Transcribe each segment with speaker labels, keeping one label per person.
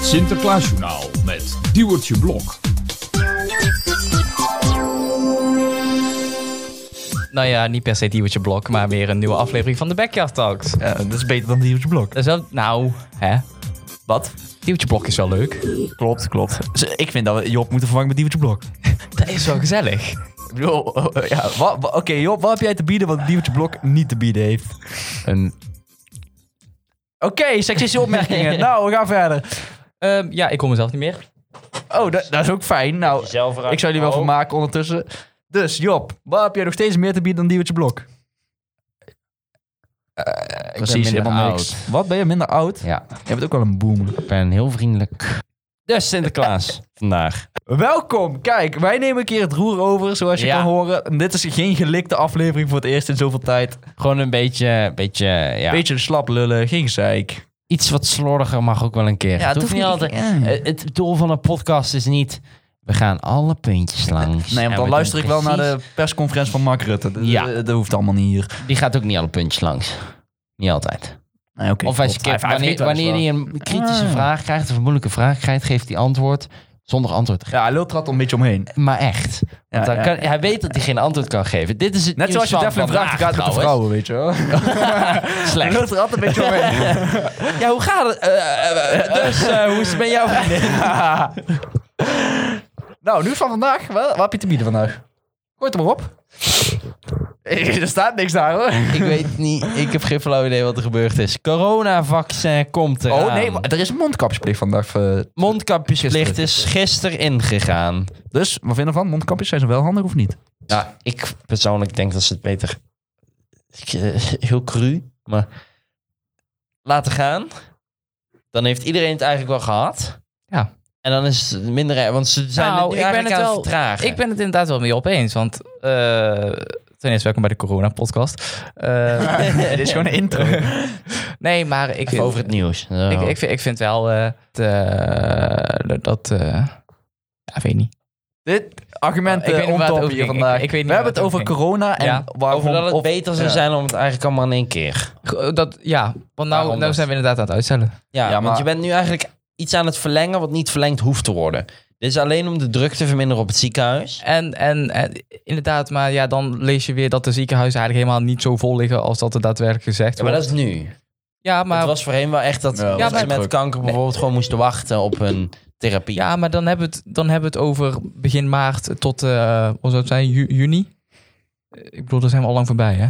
Speaker 1: Sinterklaasjournaal met Duwertje Blok.
Speaker 2: Nou ja, niet per se Diewertje Blok, maar weer een nieuwe aflevering van de Backyard Talks.
Speaker 3: Ja, dat is beter dan Diewertje Blok.
Speaker 2: Dat is wel, nou, hè.
Speaker 3: Wat?
Speaker 2: Diewertje Blok is wel leuk.
Speaker 3: Klopt, klopt. Dus ik vind dat we Job moeten vervangen met Diewertje Blok.
Speaker 2: Dat is wel gezellig.
Speaker 3: Ik bedoel, oh, oh, ja, wa- wa- Oké Job, wat heb jij te bieden wat Diewertje Blok niet te bieden heeft?
Speaker 2: Een,
Speaker 3: Oké, seksistische opmerkingen. nou, we gaan verder.
Speaker 2: ehm, ja, ik kom mezelf niet meer.
Speaker 3: Oh, dat, dat is ook fijn. Nou, ik zou jullie wel van maken ondertussen. Dus Job, wat heb jij nog steeds meer te bieden dan Diewertje Blok? Eh,
Speaker 4: Precies, helemaal niks.
Speaker 3: Wat, ben je minder oud?
Speaker 4: Ja,
Speaker 3: Je bent ook wel een boomer.
Speaker 4: ik ben heel vriendelijk. Dus Sinterklaas vandaag.
Speaker 3: Welkom! Kijk, wij nemen een keer het roer over, zoals je
Speaker 4: Ja.
Speaker 3: kan horen. En dit is geen gelikte aflevering voor het eerst in zoveel tijd.
Speaker 4: Gewoon een beetje, beetje, ja.
Speaker 3: Beetje slap lullen, geen gezeik.
Speaker 4: iets wat slordiger mag ook wel een keer.
Speaker 3: Ja,
Speaker 4: het
Speaker 3: het
Speaker 4: hoeft niet
Speaker 3: hoeft niet-
Speaker 4: altijd. eh, Het doel van een podcast is niet. We gaan alle puntjes langs.
Speaker 3: Nee, want
Speaker 4: En we
Speaker 3: dan
Speaker 4: doen
Speaker 3: luister ik wel naar
Speaker 4: precies-
Speaker 3: de persconferentie van Mark Rutte. Dat,
Speaker 4: Ja.
Speaker 3: dat, dat hoeft allemaal niet hier.
Speaker 4: Die gaat ook niet alle puntjes langs. Niet altijd.
Speaker 3: Nee, oké,
Speaker 4: of hij
Speaker 3: klopt.
Speaker 4: skipt.
Speaker 3: Hij- hij
Speaker 4: Wanneer,
Speaker 3: vergeet wel eens
Speaker 4: wanneer hij
Speaker 3: dus, eh.
Speaker 4: een kritische
Speaker 3: Ah.
Speaker 4: vraag krijgt, of een moeilijke vraag krijgt, geeft hij antwoord zonder antwoord te
Speaker 3: wat. Ja, hij lult er altijd een beetje omheen.
Speaker 4: geven. Maar echt.
Speaker 3: Ja,
Speaker 4: Want dan
Speaker 3: ja.
Speaker 4: kan, hij weet dat hij geen antwoord kan geven. Dit is het
Speaker 3: Net zoals je Devlin vraagt,
Speaker 4: vraagt,
Speaker 3: gaat met de vrouwen, weet je wel. Hij
Speaker 4: Nou, Slecht.
Speaker 3: lult er altijd een beetje omheen.
Speaker 4: Ja, hoe gaat het?
Speaker 3: Eh,
Speaker 4: dus, hoe is het met jou?
Speaker 3: nou, nu van vandaag. Wat, wat heb je te bieden vandaag? Gooi het er maar op. er staat niks daar, hoor.
Speaker 4: ik weet niet. Ik heb geen flauw idee wat er gebeurd is. Coronavaccin komt eraan.
Speaker 3: Oh nee, maar er is een mondkapjesplicht vandaag. eh,
Speaker 4: Mondkapjesplicht is gisteren ingegaan.
Speaker 3: Dus, wat vinden we van? Mondkapjes, zijn ze wel handig of niet?
Speaker 4: Ja, ik persoonlijk denk dat ze het beter... Ik, eh, heel cru, maar... Laten gaan. Dan heeft iedereen het eigenlijk wel gehad.
Speaker 2: Ja.
Speaker 4: En dan is het minder... Want ze zijn
Speaker 2: Nou,
Speaker 4: het nu
Speaker 2: ik ben
Speaker 4: eigenlijk
Speaker 2: het
Speaker 4: aan
Speaker 2: wel-
Speaker 4: het vertragen.
Speaker 2: Ik ben het inderdaad wel mee opeens, want... eh, ten eerste, welkom bij de Corona-podcast. Eh,
Speaker 3: Dit is gewoon een intro.
Speaker 2: nee, maar ik
Speaker 4: Even
Speaker 2: vind...
Speaker 4: over het nieuws.
Speaker 2: ik, ik, vind, ik vind wel eh, het, eh, dat... eh, ja, weet niet.
Speaker 3: Dit argument
Speaker 2: Ik weet niet waar
Speaker 3: eh on
Speaker 2: het
Speaker 3: top
Speaker 2: over
Speaker 3: hier
Speaker 2: ging.
Speaker 3: vandaag.
Speaker 2: Ik- ik weet niet
Speaker 3: we
Speaker 2: waar
Speaker 3: hebben het
Speaker 2: het
Speaker 3: over
Speaker 2: over
Speaker 3: corona en
Speaker 2: Ja,
Speaker 3: waarom...
Speaker 4: Over dat het
Speaker 3: of-
Speaker 4: beter zou
Speaker 3: ja.
Speaker 4: zijn om het eigenlijk allemaal in één keer.
Speaker 2: Go- Dat, ja, want nou,
Speaker 4: Waarom
Speaker 2: nou
Speaker 4: dat?
Speaker 2: zijn we inderdaad aan het uitstellen.
Speaker 4: Ja,
Speaker 3: Ja, maar-
Speaker 4: want je bent nu eigenlijk iets aan het verlengen wat niet verlengd hoeft te worden. Dit is alleen om de druk te verminderen op het ziekenhuis.
Speaker 2: En, en, en inderdaad, maar ja, dan lees je weer dat de ziekenhuizen eigenlijk helemaal niet zo vol liggen als dat er daadwerkelijk gezegd
Speaker 4: Ja, maar dat
Speaker 2: wordt.
Speaker 4: is nu.
Speaker 2: Ja, maar,
Speaker 4: het was voorheen wel echt dat
Speaker 3: Ja, dat
Speaker 4: mensen
Speaker 2: is
Speaker 4: met
Speaker 3: druk.
Speaker 4: kanker bijvoorbeeld gewoon moesten wachten op hun therapie.
Speaker 2: ja, maar dan, hebben we het, dan hebben we het over begin maart tot, eh wat zou het zijn, ju- juni? Eh, Ik bedoel, daar zijn we al lang voorbij, hè?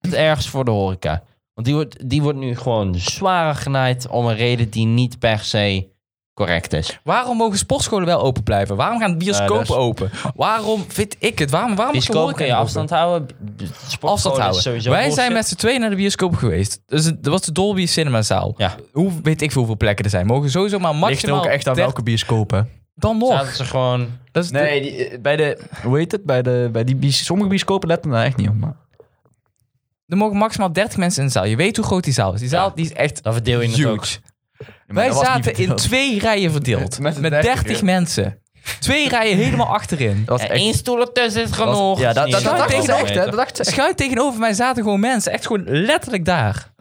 Speaker 4: Het ergst voor de horeca. Want die wordt, die wordt nu gewoon zwaar genaaid om een reden die niet per se correct is.
Speaker 2: Waarom mogen sportscholen wel open blijven? Waarom gaan bioscopen
Speaker 4: Ja, dat is-
Speaker 2: open? Waarom vind ik het? Waarom, waarom is de
Speaker 4: Disco
Speaker 2: horeca
Speaker 4: kun je
Speaker 2: niet
Speaker 4: afstand houden. b-
Speaker 2: open?
Speaker 4: sportscholen
Speaker 2: Afstand
Speaker 4: is
Speaker 2: houden.
Speaker 4: sowieso
Speaker 2: Wij zijn
Speaker 4: bullshit.
Speaker 2: met z'n tweeën naar de bioscoop geweest. Dus het- dat was de Dolby Cinemazaal.
Speaker 4: Ja.
Speaker 2: Hoe weet ik veel hoeveel plekken er zijn? Mogen sowieso maar maximaal...
Speaker 3: Ligt er ook echt aan
Speaker 2: 30
Speaker 3: welke bioscoop, hè?
Speaker 2: Dan nog.
Speaker 4: Zaten ze gewoon...
Speaker 2: Dat is de-
Speaker 3: Nee, die, eh, bij de... Hoe heet het? Bij, de, bij die, bios- sommige bioscopen letten daar echt niet op. Maar...
Speaker 2: Er mogen maximaal 30 mensen in de zaal. Je weet hoe groot die zaal is. Die zaal die is echt
Speaker 4: Dan verdeel je het ook.
Speaker 2: huge. Wij zaten in twee rijen verdeeld.
Speaker 3: Met
Speaker 2: Met,
Speaker 3: z'n
Speaker 2: 30
Speaker 3: dertigen.
Speaker 2: mensen. Twee rijen helemaal achterin.
Speaker 3: Dat was
Speaker 4: En
Speaker 3: echt...
Speaker 4: één stoel ertussen is
Speaker 3: dat was-
Speaker 4: genoeg.
Speaker 3: ja, dat, dat,
Speaker 2: Zou
Speaker 3: dat
Speaker 2: ik
Speaker 3: dacht ze
Speaker 2: tegen-
Speaker 3: echt, hè? Dat dacht ze echt.
Speaker 2: Schuin tegenover mij zaten gewoon mensen. Echt gewoon letterlijk daar.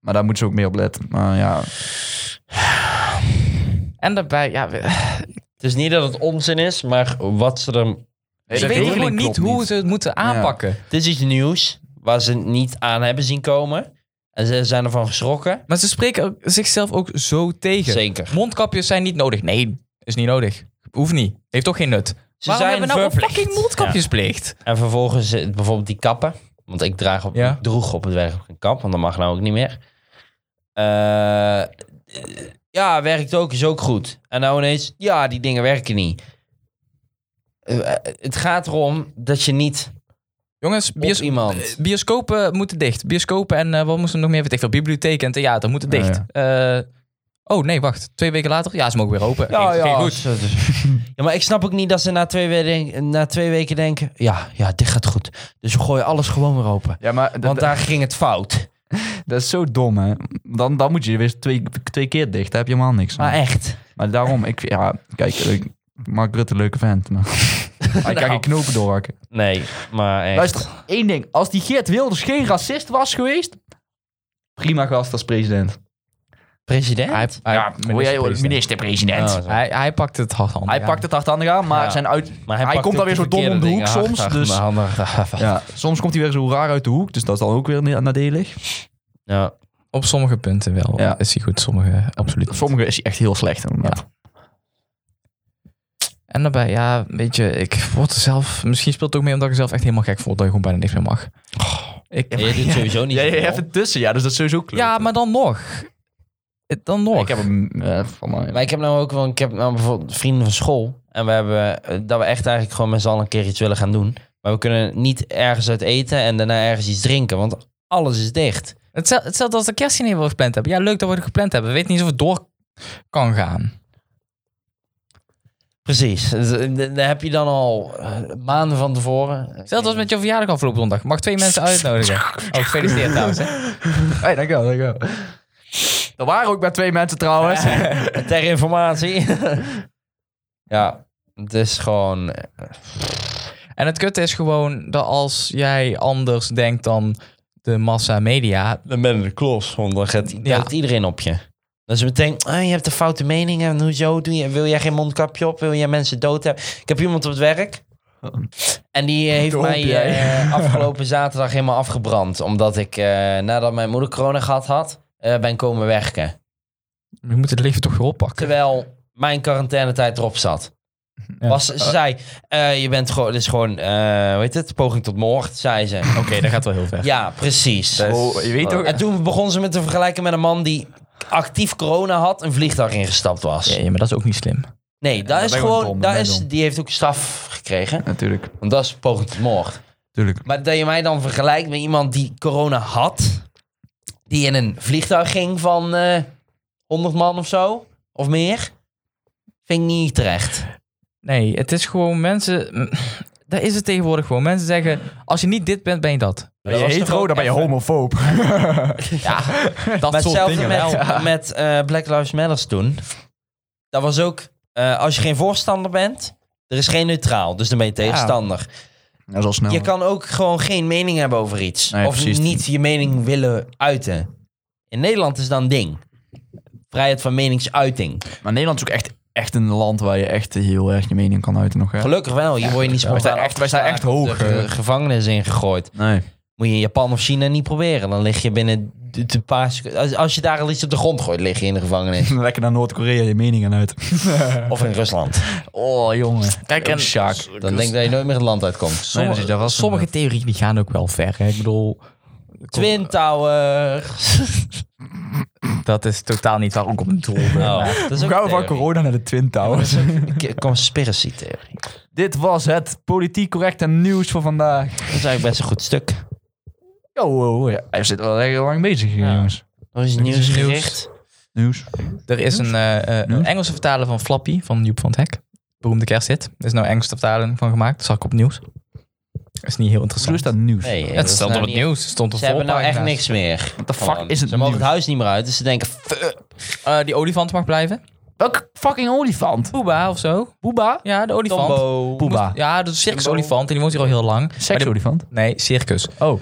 Speaker 3: Maar daar moeten ze ook mee op letten. Maar ja...
Speaker 2: En daarbij, ja, we-
Speaker 4: Het is niet dat het onzin is, maar wat ze er...
Speaker 2: ik weet gewoon niet hoe ze het moeten aanpakken.
Speaker 4: Het is iets nieuws waar ze niet aan hebben zien komen. En ze zijn ervan geschrokken.
Speaker 2: Maar ze spreken ook zichzelf ook zo tegen.
Speaker 4: Zeker.
Speaker 2: Mondkapjes zijn niet nodig. Nee, is niet nodig. Hoeft niet. Heeft toch geen nut.
Speaker 4: Ze
Speaker 2: Waarom
Speaker 4: zijn
Speaker 2: hebben we nou een
Speaker 4: verplicht.
Speaker 2: fucking mondkapjesplicht?
Speaker 4: Ja. En vervolgens eh, bijvoorbeeld die kappen. Want ik, draag op,
Speaker 2: Ja.
Speaker 4: ik droeg op het werk ook een kap, want dat mag nou ook niet meer. Eh, eh, ja, werkt ook, is ook goed. En nou ineens, ja, die dingen werken niet. Eh, eh, het gaat erom dat je niet
Speaker 2: Jongens,
Speaker 4: op
Speaker 2: bios
Speaker 4: iemand...
Speaker 2: Bioscopen moeten dicht. Bioscopen en eh, wat moesten we nog meer? Weet ik veel. Bibliotheken en theater moeten
Speaker 3: Ja,
Speaker 2: dicht. Eh, oh nee, wacht. Twee weken later? Ja, ze mogen weer open.
Speaker 4: Ja,
Speaker 2: Geen-
Speaker 4: ja.
Speaker 2: geen goed.
Speaker 4: Ja, maar ik snap ook niet dat ze na twee, weken, na twee weken denken... Ja, ja, dit gaat goed. Dus we gooien alles gewoon weer open.
Speaker 3: Ja, maar dat,
Speaker 4: Want daar ging het fout.
Speaker 3: dat is zo dom, hè? Dan, dan moet je weer twee, twee keer dicht. Daar heb je helemaal niks aan.
Speaker 4: Maar echt.
Speaker 3: Maar daarom, ik, ja, kijk, ik, Mark Rutte, leuke vent. Maar hij kan geen knopen doorhakken.
Speaker 4: Nee, maar echt.
Speaker 3: Luister, één Nou. ding. Als die Geert Wilders geen racist was geweest, prima gast als president.
Speaker 4: President?
Speaker 2: Hij, hij,
Speaker 3: ja, hoe jij-
Speaker 2: minister-president.
Speaker 3: minister-president.
Speaker 4: Oh, zo.
Speaker 2: hij, hij pakt het hard aan.
Speaker 3: hij pakt het hardhandig aan, maar
Speaker 4: Ja.
Speaker 3: zijn uit...
Speaker 4: maar
Speaker 3: hij
Speaker 4: pakt
Speaker 3: komt
Speaker 4: ook
Speaker 3: dan weer zo dom
Speaker 4: verkeerde
Speaker 3: om de hoek
Speaker 4: dingen
Speaker 3: soms,
Speaker 4: achter
Speaker 3: dus-
Speaker 4: de handen.
Speaker 3: ja, soms komt hij weer zo raar uit de hoek, dus dat is dan ook weer ne- nadelig.
Speaker 4: Ja.
Speaker 2: Op sommige punten wel.
Speaker 3: Ja.
Speaker 2: Is hij goed, sommige absoluut niet.
Speaker 3: Sommige is hij echt heel slecht. inderdaad.
Speaker 2: En daarbij, ja, weet je, ik word er zelf... Misschien speelt het ook mee omdat ik er zelf echt helemaal gek voor dat je gewoon bijna niks meer mag. ik,
Speaker 4: Je doet sowieso niet
Speaker 3: Ja, je
Speaker 4: zoveel.
Speaker 3: hebt het tussen, ja, dus dat is sowieso klopt.
Speaker 2: ja, maar dan nog. Eh, Dan nog.
Speaker 3: Ik heb hem eh, van mij.
Speaker 4: Maar ik heb nou ook wel, ik heb nou bijvoorbeeld vrienden van school. En we hebben eh, dat we echt eigenlijk gewoon met z'n allen een keer iets willen gaan doen. Maar we kunnen niet ergens uit eten en daarna ergens iets drinken. Want alles is dicht.
Speaker 2: Hetzel- Hetzelfde als de kerstdiner wat we gepland hebben. Ja, leuk dat we het gepland hebben. We weten niet of het door kan gaan.
Speaker 4: Precies. Dus, eh, d- Daar heb je dan al eh, maanden van tevoren. eh,
Speaker 2: Hetzelfde als met je verjaardag afgelopen zondag. Mag twee mensen uitnodigen. Oh, gefeliciteerd trouwens. Hè.
Speaker 3: Hey, dankjewel, dankjewel. Er waren ook maar twee mensen trouwens.
Speaker 4: Ter informatie. ja, het is gewoon... eh,
Speaker 2: En het kutte is gewoon dat als jij anders denkt dan de massa media...
Speaker 4: Dan ben je de klos, want dan gaat
Speaker 2: Ja.
Speaker 4: loopt iedereen op je. Dan is het meteen, ah, je hebt een foute mening en hoezo? Doe je, wil jij geen mondkapje op? Wil jij mensen dood hebben? Ik heb iemand op het werk en die eh, heeft
Speaker 3: Doop
Speaker 4: mij
Speaker 3: jij.
Speaker 4: eh, afgelopen zaterdag helemaal afgebrand. Omdat ik, eh, nadat mijn moeder corona gehad had, eh, ben komen werken.
Speaker 2: We moeten het leven toch weer oppakken.
Speaker 4: Terwijl mijn quarantainetijd erop zat.
Speaker 2: Ja.
Speaker 4: Was, ze zei, eh, je bent gewoon, dit is gewoon, eh hoe heet het, poging tot moord, zei ze.
Speaker 2: Oké, dat gaat wel heel ver. Dus-
Speaker 4: Ja, precies.
Speaker 3: Oh, je weet ook.
Speaker 4: En toen begon ze me te vergelijken met een man die actief corona had, een vliegtuig ingestapt was.
Speaker 2: Ja, ja, maar dat is ook niet slim.
Speaker 4: Nee, dat is
Speaker 3: ben je gewoon
Speaker 4: gewoon,
Speaker 3: dom,
Speaker 4: dat
Speaker 3: ben je
Speaker 4: is,
Speaker 3: dom.
Speaker 4: die heeft ook straf gekregen.
Speaker 3: Natuurlijk,
Speaker 4: Want dat is poging tot moord.
Speaker 3: natuurlijk.
Speaker 4: Maar dat je mij dan vergelijkt met iemand die corona had, die in een vliegtuig ging van eh 100 man of zo, of meer, vind ik niet terecht.
Speaker 2: Nee, het is gewoon mensen... Dat is het tegenwoordig gewoon. Mensen zeggen, als je niet dit bent, ben je dat.
Speaker 3: Ben je hetero, dan ben je homofoob.
Speaker 2: Ja, dat
Speaker 4: Maar
Speaker 2: soort
Speaker 4: hetzelfde
Speaker 2: dingen.
Speaker 4: met,
Speaker 2: wel.
Speaker 4: met eh, Black Lives Matters toen. Dat was ook, eh, als je geen voorstander bent, er is geen neutraal. Dus dan ben je tegenstander.
Speaker 3: Dat is al snel.
Speaker 4: Je kan ook gewoon geen mening hebben over iets.
Speaker 3: Nee,
Speaker 4: of
Speaker 3: precies.
Speaker 4: niet je mening willen uiten. In Nederland is dat een ding. Vrijheid van meningsuiting.
Speaker 3: Maar Nederland is ook echt, echt een land waar je echt heel erg je mening kan uiten nog. Hè?
Speaker 4: Gelukkig wel, hier word je niet spontaan
Speaker 3: wij staan echt- wij staan
Speaker 4: afgeslagen
Speaker 3: echt
Speaker 4: of
Speaker 3: hoog,
Speaker 4: de
Speaker 3: hè.
Speaker 4: ge- gevangenis ingegooid.
Speaker 3: Nee.
Speaker 4: Moet je in Japan of China niet proberen. Dan lig je binnen de, de paar seconden... Als, als je daar al iets op de grond gooit, lig je in de gevangenis.
Speaker 3: Lekker naar Noord-Korea je mening aan uit.
Speaker 4: of in Rusland.
Speaker 3: Oh, jongen.
Speaker 2: Kijk, en-
Speaker 4: Dan denk ik dat je nooit meer het land uitkomt.
Speaker 3: Nee, dat is- dat was een-
Speaker 2: sommige theorieën die gaan ook wel ver. Hè? Ik bedoel,
Speaker 4: Twin Towers.
Speaker 2: dat is totaal niet waar ik op doel ben.
Speaker 4: Nou, dat is
Speaker 3: We
Speaker 4: ook
Speaker 3: gaan
Speaker 4: een
Speaker 3: van
Speaker 4: theorie.
Speaker 3: Oh. corona naar de Twin Towers.
Speaker 4: K- Conspiracy theorie.
Speaker 3: Dit was het politiek correcte nieuws voor vandaag.
Speaker 4: Dat is eigenlijk best een goed stuk.
Speaker 3: Yo, oh, ja. Hij zit wel heel lang bezig hier,
Speaker 4: Ja.
Speaker 3: jongens.
Speaker 4: Dat is
Speaker 2: nieuws
Speaker 4: nieuws
Speaker 2: gericht.
Speaker 3: Nieuws.
Speaker 2: Er is een, eh, eh, een
Speaker 3: Hm?
Speaker 2: Engelse vertaler van Flappy, van Joep van het Hek. Beroemde kersthit. Er is nou een Engelse vertaling van gemaakt. Zag ik op het nieuws. is niet heel
Speaker 3: Zo
Speaker 2: interessant.
Speaker 3: is dat nieuws.
Speaker 4: Nee, dat
Speaker 2: het
Speaker 4: is
Speaker 2: stond
Speaker 4: nou
Speaker 2: op het
Speaker 4: niet-
Speaker 2: nieuws. Het stond op
Speaker 4: Ze hebben nou echt
Speaker 2: voorpagina's.
Speaker 4: niks meer.
Speaker 3: What the fuck
Speaker 4: Gewoon.
Speaker 3: is het
Speaker 4: Ze mogen
Speaker 3: nieuws?
Speaker 4: het huis niet meer uit, dus ze denken... fuck.
Speaker 2: Eh, die olifant mag blijven.
Speaker 3: Welke fucking olifant?
Speaker 2: Boeba of zo.
Speaker 3: Boeba?
Speaker 2: Ja, de olifant.
Speaker 4: Tombo.
Speaker 3: Poeba.
Speaker 2: Moest- Ja, dat is een circusolifant. En die woont hier al heel lang. Maar die-
Speaker 3: Seksolifant?
Speaker 2: Nee, circus.
Speaker 3: Oh.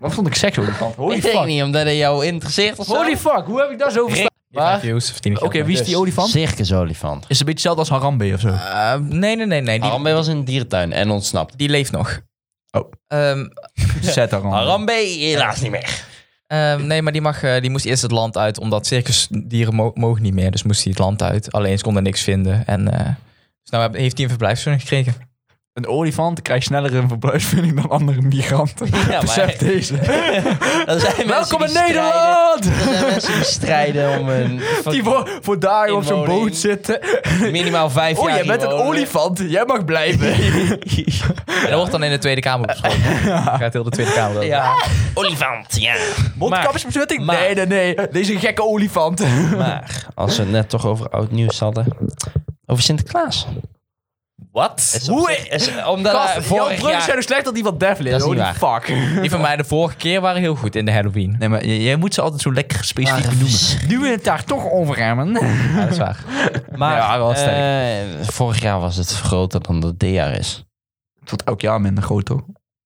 Speaker 3: Wat vond ik seksolifant? Holy
Speaker 4: Ik denk
Speaker 3: fuck.
Speaker 4: niet, omdat hij jou interesseert of zo.
Speaker 3: Holy fuck, hoe heb ik daar zo verstaan? Maar-
Speaker 2: Oké,
Speaker 3: Ah. Oké, wie
Speaker 4: Dus
Speaker 3: is die olifant?
Speaker 4: Circusolifant.
Speaker 3: Is een beetje hetzelfde als Harambe of zo.
Speaker 2: Ehm, nee, nee, nee. nee. Die,
Speaker 4: Harambe was in een dierentuin en ontsnapt.
Speaker 2: die leeft nog.
Speaker 3: Oh.
Speaker 2: Ehm,
Speaker 3: Zet Harambe.
Speaker 4: Harambe helaas niet meer.
Speaker 2: Ehm, nee, maar die, mag, eh, die moest eerst het land uit, omdat circusdieren mo- mogen niet meer. Dus moest hij het land uit. Alleen ze konden niks vinden. En eh, dus nou heb- heeft hij een verblijfsvergunning gekregen.
Speaker 3: Een olifant krijgt sneller een verblijfsvinding dan andere migranten.
Speaker 4: maar-
Speaker 3: Besef deze.
Speaker 4: Dat zijn mensen
Speaker 3: Welkom
Speaker 4: die
Speaker 3: in
Speaker 4: strijden-
Speaker 3: Nederland!
Speaker 4: Dat zijn mensen die strijden om een...
Speaker 3: Die voor, voor dagen op zo'n
Speaker 4: Inwoning.
Speaker 3: boot zitten.
Speaker 4: Minimaal vijf
Speaker 3: Oh,
Speaker 4: jaar
Speaker 3: jij
Speaker 4: hier
Speaker 3: bent een
Speaker 4: wonen.
Speaker 3: olifant. Jij mag blijven.
Speaker 2: En dat wordt dan in de Tweede Kamer besproken. Dan gaat heel de Tweede Kamer over.
Speaker 4: Ja. Olifant, ja.
Speaker 3: Mondkapjesbezutting?
Speaker 4: maar-
Speaker 3: Nee, nee, nee. Deze gekke olifant.
Speaker 4: Maar als we het net toch over oud nieuws hadden. Over Sinterklaas.
Speaker 3: Wat?
Speaker 4: Is op
Speaker 3: Hoe?
Speaker 4: zich- is- omdat hij
Speaker 3: Gast, jouw
Speaker 4: vorig
Speaker 3: bruggen zijn
Speaker 4: jaar...
Speaker 3: nog slecht dat die wat devil is.
Speaker 4: Dat is
Speaker 3: Holy
Speaker 4: niet
Speaker 3: fuck.
Speaker 2: Die van mij de vorige keer waren heel goed in de Halloween.
Speaker 3: Nee, maar j- jij moet ze altijd zo lekker specifiek
Speaker 4: Maar-
Speaker 3: noemen. Nu we het daar toch over hebben.
Speaker 2: Ja, dat is waar.
Speaker 4: Maar
Speaker 3: Ja, wel sterk.
Speaker 4: eh, vorig jaar was het groter dan dat het dit jaar is.
Speaker 3: Het wordt elk jaar minder groot, toch?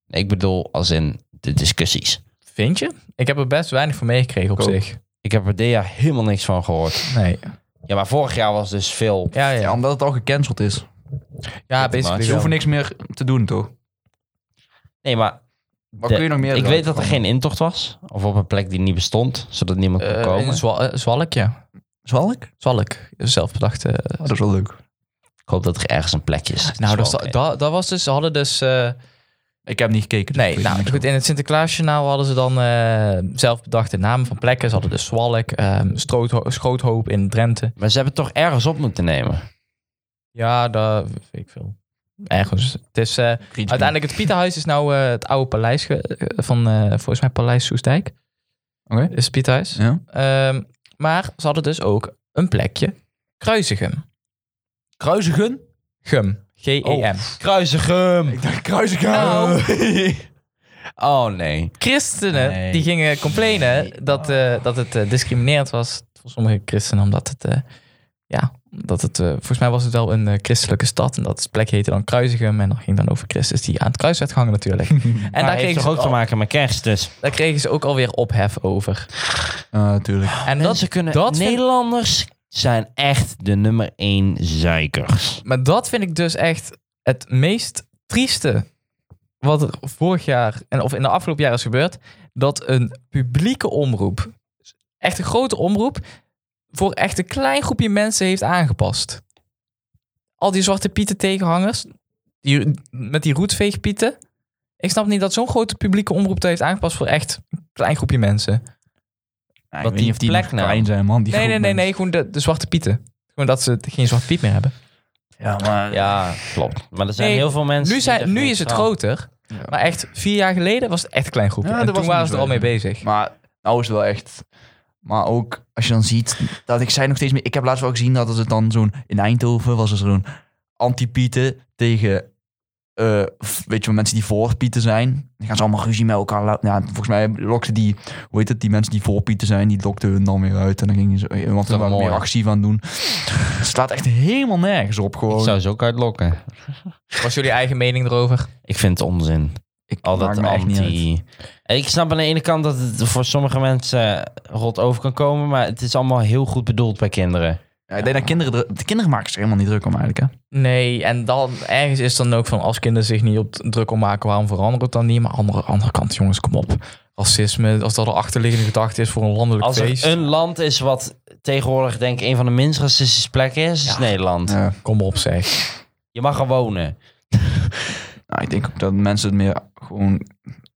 Speaker 4: Ik bedoel, als in de discussies.
Speaker 2: Vind je? Ik heb er best weinig van meegekregen op
Speaker 3: Ook.
Speaker 2: zich.
Speaker 4: Ik Ik heb er dit jaar helemaal niks van gehoord.
Speaker 2: Nee.
Speaker 4: Ja, maar vorig jaar was dus veel.
Speaker 2: Ja, ja.
Speaker 3: Ja,
Speaker 2: Ja,
Speaker 3: omdat het al gecanceld is. Ze
Speaker 2: basically wel.
Speaker 3: hoeven niks meer te doen, toch?
Speaker 4: Nee, maar
Speaker 3: Wat
Speaker 4: De-
Speaker 3: kun je nog meer
Speaker 4: ik
Speaker 3: doen?
Speaker 4: weet dat er geen intocht was. Of op een plek die niet bestond, zodat niemand kon
Speaker 2: Eh,
Speaker 4: komen.
Speaker 2: in Zwa- eh, Zwalk, ja.
Speaker 3: Zwalk?
Speaker 2: Zwalk. Zelfbedachte. eh,
Speaker 3: Oh, dat is wel leuk.
Speaker 4: Ik hoop dat er ergens een plekje is.
Speaker 2: nou, dat, is-
Speaker 4: wel oké.
Speaker 2: dat, dat was dus... Ze hadden dus... eh,
Speaker 3: Ik heb niet gekeken. dus ik
Speaker 2: Nee,
Speaker 3: weet
Speaker 2: nou
Speaker 3: niks
Speaker 2: goed, in het Sinterklaasjournaal hadden ze dan eh, zelf bedachte namen van plekken. Ze hadden dus Zwalk, ehm, Strootho- Schoothoop in Drenthe.
Speaker 4: Maar ze hebben het toch ergens op moeten nemen.
Speaker 2: Ja, daar weet ik veel. Ergens. Het is, eh,
Speaker 3: over. Grietje.
Speaker 2: uiteindelijk, het Pieterhuis is nou eh, het oude paleis ge- eh, van, eh, volgens mij, Paleis Soestdijk.
Speaker 3: Oké.
Speaker 2: Is het Pieterhuis.
Speaker 3: Ja.
Speaker 2: Ehm, maar ze hadden dus ook een plekje Kruisigem.
Speaker 3: Kruisigen?
Speaker 2: Gum.
Speaker 4: E
Speaker 3: Oh.
Speaker 2: G-E-M. E
Speaker 4: Kruisigum!
Speaker 3: Ik dacht Kruisigen.
Speaker 2: Nou,
Speaker 4: Oh nee.
Speaker 2: christenen
Speaker 3: Nee.
Speaker 2: die gingen complainen
Speaker 3: Nee.
Speaker 2: dat, eh, dat het eh, discriminerend was voor sommige christenen, omdat het, eh, ja, dat het, eh, volgens mij was het wel een eh, christelijke stad en dat plek heette dan Kruisigem en dan ging dan over Christus die aan het kruis werd gehangen natuurlijk. en
Speaker 4: En
Speaker 2: daar,
Speaker 4: daar heeft
Speaker 2: kregen
Speaker 4: toch
Speaker 2: ze
Speaker 4: ook te
Speaker 2: al,
Speaker 4: maken met kerst, dus.
Speaker 2: daar kregen ze ook alweer ophef over.
Speaker 3: Natuurlijk.
Speaker 2: En
Speaker 4: Dat ze kunnen...
Speaker 2: dat vind-
Speaker 4: Nederlanders zijn echt de nummer één zeikers.
Speaker 2: Maar dat vind ik dus echt het meest trieste wat er vorig jaar en of in de afgelopen jaren is gebeurd, dat een publieke omroep, echt een grote omroep, voor echt een klein groepje mensen heeft aangepast. Al die zwarte pieten tegenhangers, die, met die roetveegpieten. Ik snap niet dat zo'n grote publieke omroep dat heeft aangepast voor echt een klein groepje mensen.
Speaker 3: Nou, ik
Speaker 4: Wat
Speaker 3: weet niet
Speaker 4: die
Speaker 3: of die nog
Speaker 4: plek nou?
Speaker 3: klein zijn, man. Die
Speaker 2: Nee, nee,
Speaker 3: groep
Speaker 2: nee, nee,
Speaker 3: mensen.
Speaker 2: gewoon de, de zwarte pieten. Gewoon dat ze geen zwarte piet meer hebben.
Speaker 3: Ja, maar...
Speaker 4: Ja, klopt. Maar er zijn
Speaker 2: Nee,
Speaker 4: heel veel mensen...
Speaker 2: Nu,
Speaker 4: die
Speaker 2: zijn,
Speaker 4: zeggen,
Speaker 2: nu is het
Speaker 4: oh,
Speaker 2: groter. Maar echt, vier jaar geleden was het echt een klein groepje.
Speaker 3: Ja,
Speaker 2: en
Speaker 3: dat
Speaker 2: toen
Speaker 3: was
Speaker 2: waren
Speaker 3: niet
Speaker 2: ze er al mee
Speaker 3: zo
Speaker 2: bezig.
Speaker 3: Maar nou is het wel echt... Maar ook als je dan ziet dat ik zij nog steeds meer... Ik heb laatst wel gezien dat het dan zo'n... In Eindhoven was er zo'n anti-pieten tegen... eh, f- weet je wel, mensen die voor pieten zijn. Dan gaan ze allemaal ruzie met elkaar. la- Ja, volgens mij lokten die... Hoe heet het? Die mensen die voor pieten zijn, die lokten hun dan weer uit. En dan gingen ze... eh, Want ze
Speaker 4: wel
Speaker 3: waren meer
Speaker 4: mooi.
Speaker 3: actie van doen. Het staat echt helemaal nergens op
Speaker 4: Ik
Speaker 3: gewoon.
Speaker 4: zou ze ook uitlokken.
Speaker 2: Was jullie eigen mening erover?
Speaker 4: Ik vind het onzin.
Speaker 3: ik
Speaker 4: Al
Speaker 3: maak
Speaker 4: dat
Speaker 3: me echt niet uit.
Speaker 4: anti... En Ik snap aan de ene kant dat het voor sommige mensen eh, rot over kan komen, maar het is allemaal heel goed bedoeld bij kinderen.
Speaker 3: Ja, ik denk dat kinderen, er- de kinderen maken zich helemaal niet druk om eigenlijk. Hè?
Speaker 2: Nee, en dan ergens is dan ook van als kinderen zich niet op druk om maken, waarom verandert het dan niet? Maar aan de andere kant, jongens, kom op. Racisme, als dat de achterliggende gedachte is voor een landelijk
Speaker 4: Als
Speaker 2: feest.
Speaker 4: er een land is wat tegenwoordig denk ik een van de minst racistische plekken is, is Nederland.
Speaker 3: Ja.
Speaker 2: Kom op, zeg.
Speaker 4: Je mag er wonen.
Speaker 3: Nou, ik denk ook dat mensen het meer gewoon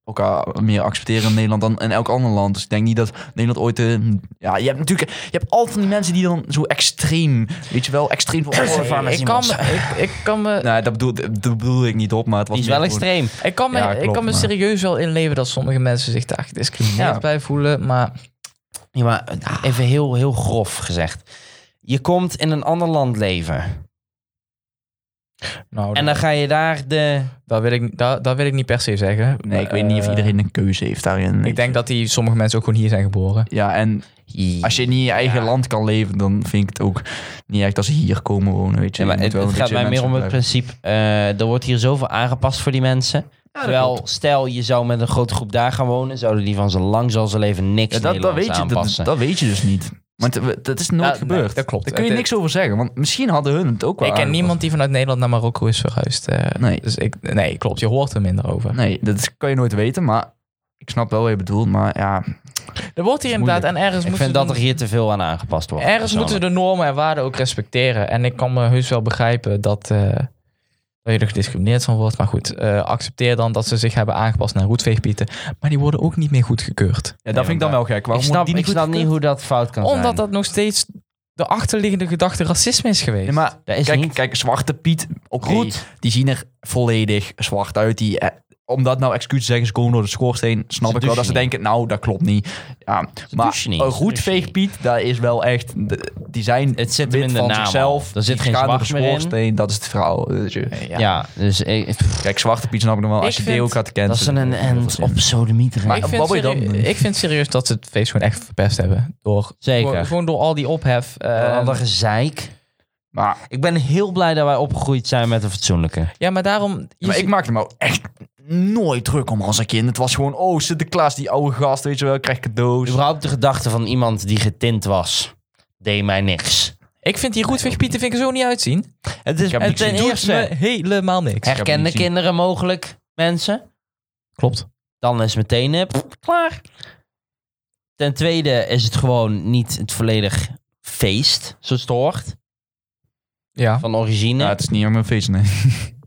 Speaker 3: elkaar meer accepteren in Nederland dan in elk ander land. Dus ik denk niet dat Nederland ooit een... Ja, je hebt natuurlijk... Je hebt altijd die mensen die dan zo extreem... Weet je wel, extreem van...
Speaker 4: Ze
Speaker 3: Oh,
Speaker 4: van-
Speaker 2: Ik kan, me- ik, ik kan me,
Speaker 3: nee, dat bedoel, dat bedoel ik niet op, maar het was
Speaker 4: Die is
Speaker 3: meer
Speaker 4: wel
Speaker 3: gewoon-
Speaker 4: extreem.
Speaker 2: ik kan me,
Speaker 3: Ja,
Speaker 2: ik
Speaker 3: klopt,
Speaker 2: kan me
Speaker 3: maar-
Speaker 2: serieus wel inleven dat sommige mensen zich daar gediscrimineerd
Speaker 3: Ja.
Speaker 2: bij voelen. Maar
Speaker 4: Ja, maar eh, even heel, heel grof gezegd. Je komt in een ander land
Speaker 3: Oh,
Speaker 4: leven.
Speaker 2: nou,
Speaker 4: En dan ga je daar de...
Speaker 2: dat, wil ik, dat, dat wil ik niet per se zeggen.
Speaker 3: Nee, ik weet niet of
Speaker 2: Eh,
Speaker 3: iedereen een keuze heeft daarin.
Speaker 2: Ik denk dat die, sommige mensen ook gewoon hier zijn geboren.
Speaker 3: Ja, en als je niet in je eigen land kan leven, dan vind ik het ook niet echt als ze hier komen wonen, weet je.
Speaker 4: Ja, maar
Speaker 3: Je moet
Speaker 4: het,
Speaker 3: wel een
Speaker 4: het gaat
Speaker 3: beetje
Speaker 4: mij meer om het
Speaker 3: menselijk
Speaker 4: principe. eh, er wordt hier zoveel aangepast voor die mensen. Terwijl, stel je zou met een grote groep daar gaan wonen, zouden die van zo lang zal ze leven niks
Speaker 3: Ja, dat, dat,
Speaker 4: Nederlands
Speaker 3: weet je, dat,
Speaker 4: aanpassen.
Speaker 3: dat weet je dus niet. Want eh, dat is nooit
Speaker 2: Ja,
Speaker 3: gebeurd.
Speaker 2: nee, dat klopt.
Speaker 3: Daar kun je
Speaker 2: Het-
Speaker 3: niks over zeggen, want misschien hadden hun het ook wel
Speaker 2: ik ken
Speaker 3: aangepast.
Speaker 2: niemand die vanuit Nederland naar Marokko is verhuisd. eh.
Speaker 3: Nee.
Speaker 2: Dus ik, nee, klopt. Je hoort er minder over.
Speaker 3: Nee, dat is- kan je nooit weten, maar ik snap wel wat je bedoelt. Maar ja,
Speaker 2: Er wordt hier
Speaker 3: Dat is
Speaker 2: inderdaad en ergens
Speaker 4: Ik
Speaker 2: moeten
Speaker 4: vind
Speaker 2: ze
Speaker 4: dat
Speaker 2: de-
Speaker 4: er hier te veel aan aangepast wordt.
Speaker 2: ergens moeten ze de normen en waarden ook respecteren. En ik kan me heus wel begrijpen dat, eh, dat je er gediscrimineerd van wordt. Maar goed, eh, accepteer dan dat ze zich hebben aangepast naar roetveegpieten. Maar die worden ook niet meer goedgekeurd.
Speaker 3: ja dat
Speaker 4: Nee,
Speaker 3: vind ik dan
Speaker 4: maar-
Speaker 3: wel gek.
Speaker 4: Ik
Speaker 3: Waarom
Speaker 4: snap,
Speaker 3: wordt die
Speaker 4: ik
Speaker 3: niet
Speaker 4: snap
Speaker 3: goed
Speaker 4: niet hoe dat fout kan zijn.
Speaker 2: Omdat dat nog steeds de achterliggende gedachte racisme is geweest.
Speaker 3: Nee, maar
Speaker 4: Dat is
Speaker 3: kijk,
Speaker 4: niet.
Speaker 3: kijk, Zwarte Piet, oké,
Speaker 4: Goed.
Speaker 3: die zien er volledig zwart uit. Die, eh, om dat nou excuus te zeggen, ze komen door de schoorsteen, snap
Speaker 4: Ze
Speaker 3: ik wel. Dat ze
Speaker 4: douchen
Speaker 3: denken, nou, dat klopt niet. Ja, maar
Speaker 4: douchen niet,
Speaker 3: een
Speaker 4: ze
Speaker 3: goed
Speaker 4: douchen niet.
Speaker 3: veegpiet, dat is wel echt... de- Die zijn
Speaker 4: Het zit hem
Speaker 3: wit
Speaker 4: in de
Speaker 3: van
Speaker 4: naam al.
Speaker 3: zichzelf.
Speaker 4: Er zit
Speaker 3: die
Speaker 4: geen
Speaker 3: gaan door de
Speaker 4: zwart meer in.
Speaker 3: schoorsteen, dat is het verhaal. weet je.
Speaker 4: ja. dus ik,
Speaker 3: Kijk, Zwarte Piet snap ik nog wel. Als
Speaker 2: Ik
Speaker 3: je
Speaker 2: vind-
Speaker 3: Deo gaat
Speaker 4: dat is
Speaker 3: cancelen.
Speaker 4: een, een,
Speaker 3: dat
Speaker 4: een
Speaker 3: is
Speaker 4: op sodemieter.
Speaker 3: Maar-
Speaker 2: ik, vind
Speaker 3: wat wil je dan
Speaker 2: serie-
Speaker 3: doen?
Speaker 2: ik vind serieus dat ze het feest gewoon echt verpest hebben. Door, gewoon,
Speaker 4: Zeker.
Speaker 2: gewoon door al die ophef. eh,
Speaker 4: Een ander gezeik.
Speaker 3: Maar
Speaker 4: Ik ben heel blij dat wij opgegroeid zijn met een fatsoenlijke.
Speaker 2: ja, maar daarom... je
Speaker 3: maar
Speaker 2: ziet-
Speaker 3: ik maak er me ook echt nooit druk om als een kind. Het was gewoon, oh, Sinterklaas, die oude gast, weet je wel, krijg cadeaus.
Speaker 4: Überhaupt de gedachte van iemand die getint was, deed mij niks.
Speaker 2: Ik vind die Roetweg Pieten vind ik er zo niet uitzien.
Speaker 4: Het is
Speaker 3: heb
Speaker 2: En
Speaker 3: niks
Speaker 2: ten
Speaker 4: gezien.
Speaker 2: eerste helemaal niks.
Speaker 3: Echt.
Speaker 4: herkende
Speaker 3: gezien.
Speaker 4: kinderen mogelijk mensen.
Speaker 2: Klopt.
Speaker 4: Dan is meteen eh, pff, klaar. Ten tweede is het gewoon niet het volledig feest, zoals het hoort,
Speaker 2: Ja.
Speaker 4: van origine.
Speaker 3: Ja, het is niet om een feest, nee.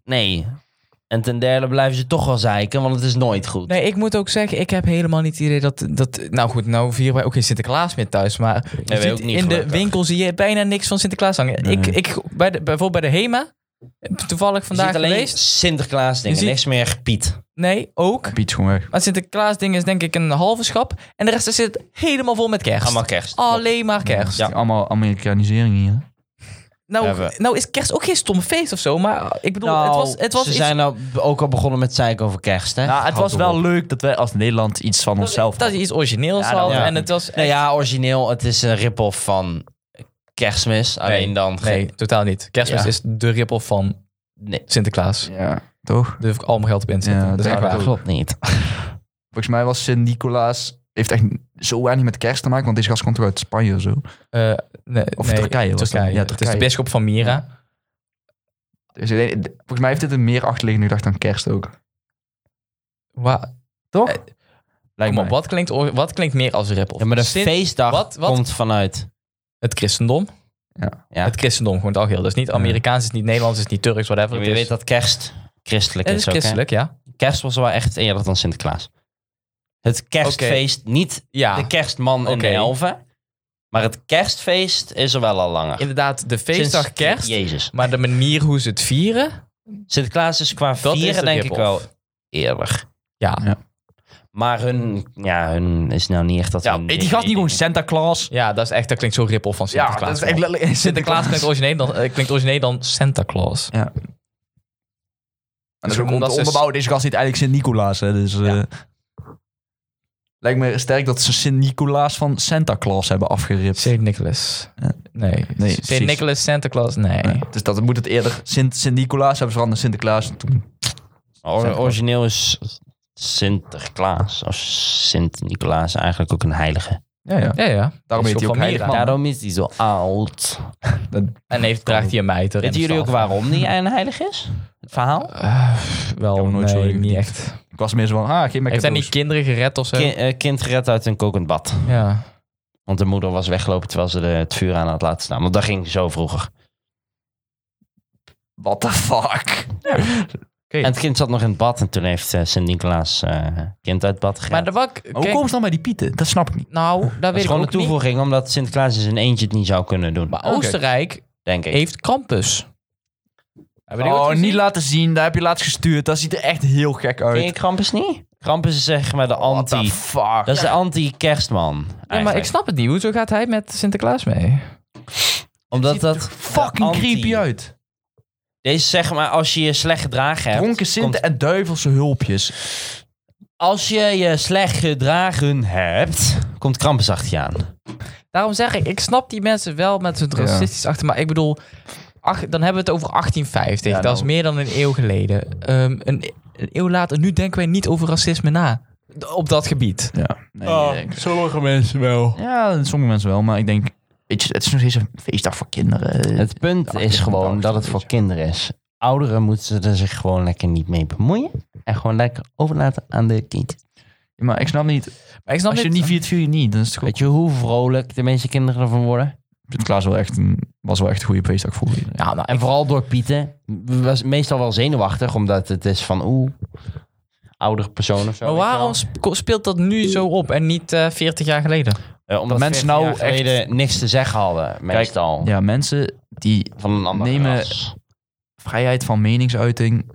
Speaker 4: Nee. En ten derde blijven ze toch wel zeiken, want het is nooit goed.
Speaker 2: Nee, ik moet ook zeggen, ik heb helemaal niet het idee dat... dat nou goed, nou vieren wij ook geen Sinterklaas meer thuis. Maar je
Speaker 4: wij
Speaker 2: ziet
Speaker 4: ook niet,
Speaker 2: in
Speaker 4: gelukkig.
Speaker 2: de winkel zie je bijna niks van Sinterklaas hangen.
Speaker 3: Nee.
Speaker 2: Ik, ik, bij de, bijvoorbeeld bij de HEMA, toevallig
Speaker 4: Je ziet
Speaker 2: vandaag
Speaker 4: alleen
Speaker 2: geweest.
Speaker 4: Sinterklaas dingen,
Speaker 2: Je ziet-
Speaker 4: niks meer Piet.
Speaker 2: Nee, ook.
Speaker 3: Piet gewoon weg.
Speaker 2: Maar Sinterklaas ding is denk ik een halve schap. En de rest zit helemaal vol met kerst.
Speaker 4: Allemaal kerst.
Speaker 2: Alleen maar kerst.
Speaker 4: Ja.
Speaker 3: Allemaal Amerikanisering hier.
Speaker 2: Nou,
Speaker 4: Hebben.
Speaker 2: nou is kerst ook geen stom feest of zo. Maar ik bedoel, het was, het was
Speaker 4: ze
Speaker 2: iets-
Speaker 4: zijn nou b- ook al begonnen met zeiken over kerst, hè?
Speaker 3: Nou, het
Speaker 4: Houd
Speaker 3: was
Speaker 4: op.
Speaker 3: wel leuk dat wij als Nederland iets van onszelf
Speaker 2: Dat is iets origineels
Speaker 3: Ja, dat
Speaker 2: hadden.
Speaker 4: wel.
Speaker 2: En het was...
Speaker 4: Nou ja, origineel, het is een rip-off van kerstmis. Alleen dan... ge-
Speaker 2: Nee, totaal niet. Kerstmis
Speaker 4: Ja.
Speaker 2: is de rippel van
Speaker 4: nee.
Speaker 2: Sinterklaas.
Speaker 3: Ja, toch?
Speaker 2: Durf ik al mijn geld op in te
Speaker 3: Ja,
Speaker 2: zetten. dat is
Speaker 3: denk
Speaker 2: echt
Speaker 3: ik
Speaker 2: waar.
Speaker 3: ook.
Speaker 4: klopt niet.
Speaker 3: Volgens mij was Sint-Nicolaas... Heeft echt zo weinig met kerst te maken, want deze gast komt toch uit Spanje of zo?
Speaker 2: Eh, nee,
Speaker 3: Of
Speaker 2: nee,
Speaker 3: Turkije was dat.
Speaker 2: Turkije.
Speaker 3: Ja,
Speaker 2: Het is
Speaker 3: Turkije.
Speaker 2: de bisschop van Mira.
Speaker 3: Dus ik denk- volgens mij heeft dit een meer achterliggende gedachte aan kerst ook.
Speaker 2: Wa-
Speaker 3: Toch?
Speaker 2: Eh, Kom op, wat klinkt, or- wat klinkt meer als rippel?
Speaker 4: Ja, maar de
Speaker 2: Sint-
Speaker 4: feestdag
Speaker 2: wat- wat-
Speaker 4: komt vanuit...
Speaker 2: Het christendom.
Speaker 4: Ja.
Speaker 2: Het christendom gewoon het algeheel. Dus niet Amerikaans, het is niet Nederlands, het is niet Turks, whatever.
Speaker 4: maar
Speaker 2: het
Speaker 4: je
Speaker 2: is-
Speaker 4: weet dat kerst christelijk
Speaker 2: het
Speaker 4: is,
Speaker 2: is
Speaker 4: ook, hè?
Speaker 2: christelijk, ja.
Speaker 4: Kerst was wel echt eerder dan Sinterklaas. Het kerstfeest, niet
Speaker 2: Ja,
Speaker 4: de kerstman en de
Speaker 2: Ah. Oké.
Speaker 4: elfen. Maar het kerstfeest is er wel al langer.
Speaker 2: inderdaad, de feestdag
Speaker 4: Sinds
Speaker 2: kerst.
Speaker 4: Jezus.
Speaker 2: Maar de manier hoe ze het vieren,
Speaker 4: Sinterklaas is qua
Speaker 2: dat is
Speaker 4: vieren
Speaker 2: het
Speaker 4: denk ik wel
Speaker 2: rip-off.
Speaker 4: eerder.
Speaker 2: Ja.
Speaker 3: Ja.
Speaker 4: Maar hun, ja, hun is nou niet echt dat
Speaker 3: Ja,
Speaker 4: hun-
Speaker 3: die gast niet gewoon Santa Claus.
Speaker 2: Ja, dat is echt, dat klinkt zo rippel van Sinterklaas. man.
Speaker 3: letterlijk
Speaker 2: Sinterklaas klinkt origineel dan, eh, klinkt origineel dan Santa Claus.
Speaker 3: En
Speaker 4: Dus
Speaker 3: dat is ook om
Speaker 2: Omdat
Speaker 3: te
Speaker 2: ze-
Speaker 3: onderbouwen. Deze gast heet eigenlijk Sint-Nicolaas. hè, Dus, eh, lijkt me sterk dat ze Sint-Nicolaas van Santa Claus hebben afgeript.
Speaker 2: St. Nicholas.
Speaker 3: Ja.
Speaker 2: Nee.
Speaker 3: Nee,
Speaker 2: St.
Speaker 3: precies.
Speaker 2: Nicholas, Santa Claus, nee.
Speaker 3: Nee, Dus dat moet het eerder. Sint- Sint-Nicolaas hebben ze veranderd. Sinterklaas. Toen-
Speaker 4: Or- origineel is Sinterklaas of Sint-Nicolaas eigenlijk ook een heilige.
Speaker 3: Ja, ja.
Speaker 2: Ja, ja.
Speaker 3: Daarom heet hij
Speaker 2: Bisschop
Speaker 3: ook
Speaker 2: van
Speaker 3: heilig
Speaker 2: Mira.
Speaker 3: man.
Speaker 4: Daarom is hij zo oud.
Speaker 2: En heeft, draagt hij een mijter.
Speaker 4: Weten jullie ook waarom hij een heilig is? Het verhaal?
Speaker 2: Eh,
Speaker 3: Ik
Speaker 2: wel,
Speaker 3: heb nooit
Speaker 2: nee,
Speaker 3: zo
Speaker 2: niet
Speaker 3: even niet.
Speaker 2: echt.
Speaker 3: Ik was meer zo van, ah, geef mij
Speaker 2: Heeft hij
Speaker 3: cadeaus.
Speaker 2: niet kinderen gered of zo?
Speaker 4: Ki- eh, kind gered uit een kokend bad.
Speaker 2: Ja.
Speaker 4: Want de moeder was weggelopen terwijl ze de, het vuur aan had laten staan. Want dat ging zo vroeger.
Speaker 3: What the fuck?
Speaker 4: En het kind zat nog in het bad. En toen heeft eh, Sint-Nicolaas eh, kind uit het bad gered.
Speaker 2: Maar de wak...
Speaker 3: Maar hoe
Speaker 2: kijk,
Speaker 3: komen ze dan bij die pieten? Dat snap ik niet.
Speaker 2: Nou, dat
Speaker 4: dat
Speaker 2: weet
Speaker 4: is
Speaker 2: ik
Speaker 4: gewoon een
Speaker 2: ook niet.
Speaker 4: toevoeging. Omdat Sinterklaas in zijn eentje het niet zou kunnen doen.
Speaker 2: Maar
Speaker 3: Oké.
Speaker 2: Oostenrijk
Speaker 4: denk ik.
Speaker 2: heeft Krampus. Hebben jullie
Speaker 3: Oh,
Speaker 2: dat gezien?
Speaker 3: niet laten zien. Daar heb je laatst gestuurd. Dat ziet er echt heel gek uit.
Speaker 4: Ken je Krampus niet? Krampus is zeg maar de
Speaker 3: What the
Speaker 4: anti...
Speaker 3: fuck?
Speaker 4: Dat is de anti-kerstman.
Speaker 2: Ja, maar ik
Speaker 4: eigenlijk.
Speaker 2: snap het niet. Hoezo gaat hij met Sinterklaas mee?
Speaker 4: Omdat dat...
Speaker 3: fucking
Speaker 4: de anti-
Speaker 3: creepy uit.
Speaker 4: Deze zeg maar, als je je slecht gedragen hebt...
Speaker 3: Dronken
Speaker 4: komt-
Speaker 3: Sinten en duivelse hulpjes.
Speaker 4: Als je je slecht gedragen hebt, komt Krampus achter je aan.
Speaker 2: Daarom zeg ik, ik snap die mensen wel met hun racistisch achter. Maar ik bedoel, ach, dan hebben we het over 1850.
Speaker 3: Ja,
Speaker 2: dat is
Speaker 3: nou.
Speaker 2: meer dan een eeuw geleden. Ehm, een, een eeuw later, nu denken wij niet over racisme na. D- Op dat gebied.
Speaker 3: Ja, nee, ik-
Speaker 4: sommige mensen wel.
Speaker 3: ja, sommige mensen wel, maar ik denk, weet je, het is nog steeds een feestdag voor kinderen.
Speaker 4: Het punt
Speaker 3: Ja,
Speaker 4: is
Speaker 3: ja,
Speaker 4: gewoon
Speaker 3: dat
Speaker 4: dat
Speaker 3: is
Speaker 4: het
Speaker 3: een
Speaker 4: voor kinderen is. Ouderen moeten er zich gewoon lekker niet mee bemoeien. En gewoon lekker overlaten aan de kindjes.
Speaker 3: Ja, maar ik snap niet,
Speaker 2: Maar ik snap
Speaker 3: als je
Speaker 2: dit-
Speaker 3: niet viert, vier je niet. Dan is het gewoon,
Speaker 4: Weet je hoe vrolijk de meeste kinderen ervan worden?
Speaker 3: Sinterklaas wel echt een, was wel echt een goede feestdag voor je.
Speaker 2: Ja, nou,
Speaker 4: En vooral door Pieten. Was meestal wel zenuwachtig, omdat het is van oeh, oudere persoon of zo.
Speaker 2: maar
Speaker 4: weet je wel.
Speaker 2: waarom sp- speelt dat nu zo op en niet eh 40 jaar geleden?
Speaker 4: Eh, omdat
Speaker 3: mensen nou
Speaker 4: 14 jaar geleden niks te zeggen hadden, meestal.
Speaker 3: Ja, mensen die
Speaker 4: Van een ander
Speaker 3: Nemen-
Speaker 4: ras.
Speaker 3: vrijheid van meningsuiting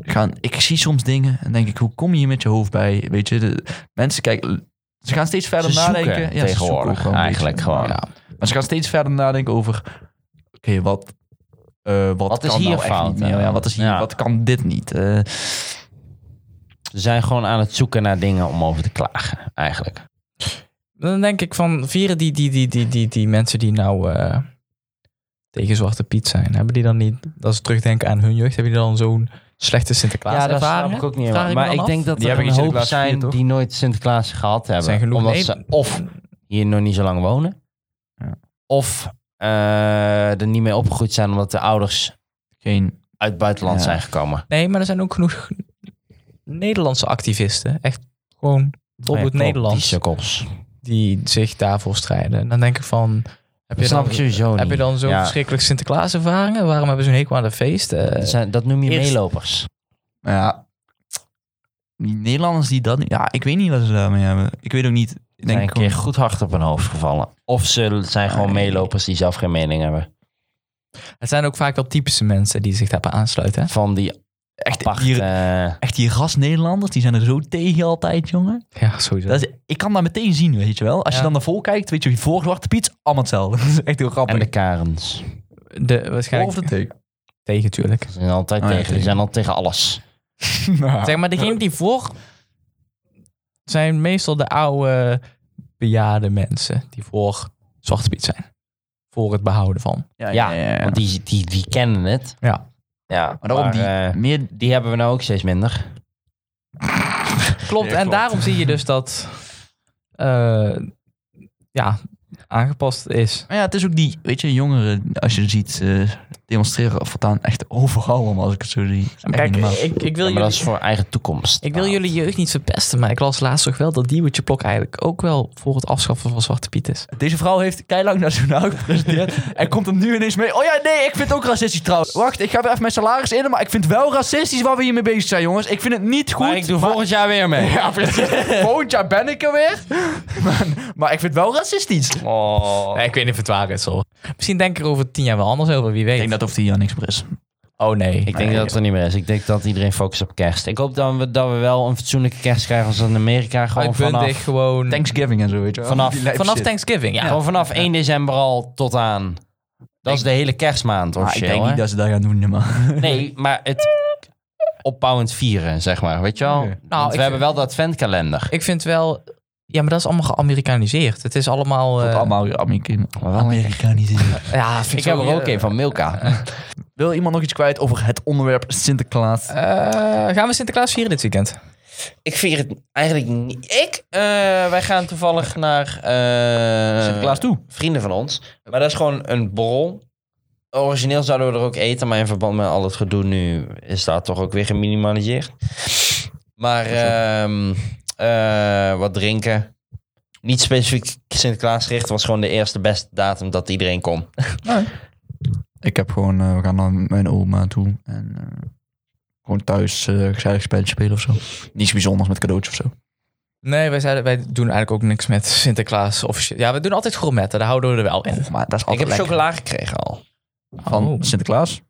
Speaker 3: gaan, ik zie soms dingen en denk ik, hoe kom je hier met je hoofd bij? Weet je, de, mensen kijken, ze gaan steeds verder
Speaker 4: Ze zoeken
Speaker 3: nadenken. ze zoeken
Speaker 4: tegenwoordig
Speaker 3: ook wel een
Speaker 4: eigenlijk
Speaker 3: beetje.
Speaker 4: gewoon.
Speaker 3: Ja. Maar ze gaan steeds verder nadenken over, oké, wat, eh, wat,
Speaker 4: Wat is
Speaker 3: kan
Speaker 4: hier
Speaker 3: nou echt
Speaker 4: fout,
Speaker 3: niet meer?
Speaker 4: hè?
Speaker 3: Ja, wat, is hier,
Speaker 4: Ja.
Speaker 3: wat kan dit niet? Eh,
Speaker 4: Ze zijn gewoon aan het zoeken naar dingen om over te klagen, eigenlijk.
Speaker 2: Dan denk ik van, vieren die, die, die, die, die, die mensen die nou eh, tegen Zwarte Piet zijn, hebben die dan niet, als ze terugdenken aan hun jeugd, hebben die dan zo'n slechte Sinterklaas
Speaker 4: Ja, dat snap
Speaker 2: ervaringen.
Speaker 4: ik ook niet.
Speaker 2: Vraag
Speaker 4: helemaal.
Speaker 2: me dan
Speaker 4: Maar ik
Speaker 2: af.
Speaker 4: denk dat
Speaker 3: Die
Speaker 4: er
Speaker 3: hebben
Speaker 4: een
Speaker 3: geen
Speaker 4: hoop
Speaker 3: Sinterklaas
Speaker 4: zijn
Speaker 3: vier, toch?
Speaker 4: die nooit Sinterklaas gehad hebben.
Speaker 2: zijn genoeg
Speaker 4: omdat
Speaker 2: nee-
Speaker 4: ze of hier nog niet zo lang wonen.
Speaker 3: Ja.
Speaker 4: Of eh, er niet mee opgegroeid zijn omdat de ouders
Speaker 3: Geen...
Speaker 4: uit het buitenland
Speaker 3: Ja.
Speaker 4: zijn gekomen.
Speaker 2: Nee, maar er zijn ook genoeg Nederlandse activisten. Echt gewoon top het
Speaker 4: Nee, Oh klopt, Die
Speaker 2: Nederlands.
Speaker 4: sukkels.
Speaker 2: Die zich daarvoor strijden. En dan denk ik van... Heb
Speaker 4: Dat
Speaker 2: je
Speaker 4: snap ik
Speaker 2: dan,
Speaker 4: sowieso niet.
Speaker 2: heb je dan zo'n
Speaker 4: Ja.
Speaker 2: verschrikkelijk Sinterklaas ervaringen? Waarom hebben ze een hekel aan de feesten?
Speaker 3: Eh,
Speaker 4: Dat, zijn, dat noem je
Speaker 2: eerst-
Speaker 4: meelopers.
Speaker 3: Ja. Die Nederlanders die dat... Ja, ik weet niet wat ze daarmee hebben. Ik weet ook niet. Ik eh,
Speaker 4: Zijn een
Speaker 3: denk
Speaker 4: keer
Speaker 3: gewoon,
Speaker 4: goed hard op hun hoofd gevallen. Of ze zijn gewoon
Speaker 3: Ah, Nee.
Speaker 4: meelopers die zelf geen mening hebben.
Speaker 2: Het zijn ook vaak wel typische mensen die zich daarbij aansluiten. hè?
Speaker 4: Van die
Speaker 3: echt,
Speaker 4: pacht...
Speaker 3: die,
Speaker 4: eh,
Speaker 3: echt die ras-Nederlanders, die zijn er zo tegen altijd, jongen.
Speaker 2: Ja, sowieso.
Speaker 3: Dat is, ik kan dat meteen zien, weet je wel. Als
Speaker 2: Ja.
Speaker 3: je dan naar vol kijkt, weet je, voor Zwarte Piet, allemaal hetzelfde. Dat is echt heel grappig.
Speaker 4: en de Karens.
Speaker 2: de,
Speaker 3: Voor
Speaker 2: waarschijnlijk
Speaker 3: of de take.
Speaker 2: tegen, tuurlijk.
Speaker 4: Ze zijn altijd
Speaker 3: Oh ja,
Speaker 4: tegen. Die
Speaker 3: tegen.
Speaker 4: zijn altijd tegen alles.
Speaker 2: Zeg maar, degene die voor zijn meestal de oude bejaarde mensen die voor Zwarte Piet zijn. Voor het behouden van.
Speaker 4: Ja, want die, die, die kennen het.
Speaker 2: Ja.
Speaker 4: Ja,
Speaker 3: Maar daarom die
Speaker 4: eh,
Speaker 3: meer...
Speaker 4: die hebben we nou ook steeds minder.
Speaker 2: Klopt,
Speaker 3: Ja,
Speaker 2: en
Speaker 3: klopt.
Speaker 2: daarom zie je dus dat eh, ja, aangepast is.
Speaker 3: Maar ja, het is ook die, weet je, jongeren, als je ziet eh, demonstreren voortaan echt overal, allemaal, als ik het zo zie. Dat is echt
Speaker 2: Kijk,
Speaker 3: niet normaal.
Speaker 2: ik, ik,
Speaker 4: Ja,
Speaker 2: wil
Speaker 4: maar dat
Speaker 2: jullie,
Speaker 4: is voor eigen toekomst.
Speaker 2: ik wil jullie jeugd niet verpesten, maar ik las laatst toch wel dat Diewertje Plok eigenlijk ook wel voor het afschaffen van Zwarte Piet is.
Speaker 3: Deze vrouw heeft keilang naar zo'n auto gepresenteerd. en komt hem nu ineens mee. Oh ja, nee, ik vind het ook racistisch trouwens. Wacht, ik ga weer even mijn salaris in, maar ik vind het wel racistisch waar we hiermee bezig zijn, jongens. Ik vind het niet goed.
Speaker 4: Maar ik doe volgend jaar weer mee.
Speaker 3: Ja, precies. Volgend jaar ben ik er weer. maar, maar ik vind het wel racistisch. Ik
Speaker 4: Oh.
Speaker 2: Nee, ik weet niet of het waar is hoor. Misschien denk ik er over tien jaar wel anders over, wie weet.
Speaker 3: denk dat of die niks meer is.
Speaker 2: Oh nee.
Speaker 4: Ik denk dat het er niet meer is. Ik denk dat iedereen focust op kerst. Ik hoop dat we, dat we wel een fatsoenlijke kerst krijgen als in Amerika. Gewoon
Speaker 2: uitbundig
Speaker 4: vanaf,
Speaker 2: gewoon.
Speaker 3: Thanksgiving en zo, weet je wel.
Speaker 4: Vanaf-
Speaker 3: Die lijp
Speaker 2: vanaf
Speaker 3: shit.
Speaker 2: Thanksgiving, ja.
Speaker 4: gewoon vanaf 1 december al tot aan... Dat is de hele kerstmaand
Speaker 3: Maar
Speaker 4: officieel,
Speaker 3: ik denk
Speaker 4: hè?
Speaker 3: niet dat ze dat gaan doen, maar...
Speaker 4: Nee, maar het opbouwend vieren, zeg maar. Weet je wel?
Speaker 3: Oké.
Speaker 4: Want we
Speaker 2: ik-
Speaker 4: hebben wel dat adventkalender.
Speaker 2: Ik vind wel... Ja, maar dat is allemaal geamerikaniseerd. Het is allemaal... eh,
Speaker 3: Tot allemaal Amerikanen. Amerikaniseren.
Speaker 2: Ja, vind
Speaker 4: Ik heb
Speaker 2: zo-
Speaker 4: er ook een van Milka.
Speaker 3: Wil iemand nog iets kwijt over het onderwerp Sinterklaas?
Speaker 2: Eh, gaan we Sinterklaas vieren dit weekend?
Speaker 4: Ik vier het eigenlijk niet. Ik? Eh, wij gaan toevallig naar eh,
Speaker 3: Sinterklaas toe.
Speaker 4: vrienden van ons. Maar dat is gewoon een borrel. Origineel zouden we er ook eten, maar in verband met al het gedoe nu is dat toch ook weer geminimaliseerd. Maar ehm, eh, wat drinken. Niet specifiek Sinterklaas gericht, was gewoon de eerste beste datum dat iedereen kon.
Speaker 3: Ik heb gewoon, eh, we gaan naar mijn oma toe. En eh, gewoon thuis eh gezellig spelletje spelen of zo. Niets bijzonders met cadeautjes of zo.
Speaker 2: Nee, wij, zeiden, wij doen eigenlijk ook niks met Sinterklaas officieel. Ja, we doen altijd gourmetten. Daar houden we er wel in.
Speaker 3: Maar dat is
Speaker 4: Ik
Speaker 3: altijd
Speaker 4: heb
Speaker 3: lekker.
Speaker 4: chocola gekregen al.
Speaker 3: Van
Speaker 2: Oh.
Speaker 3: Sinterklaas.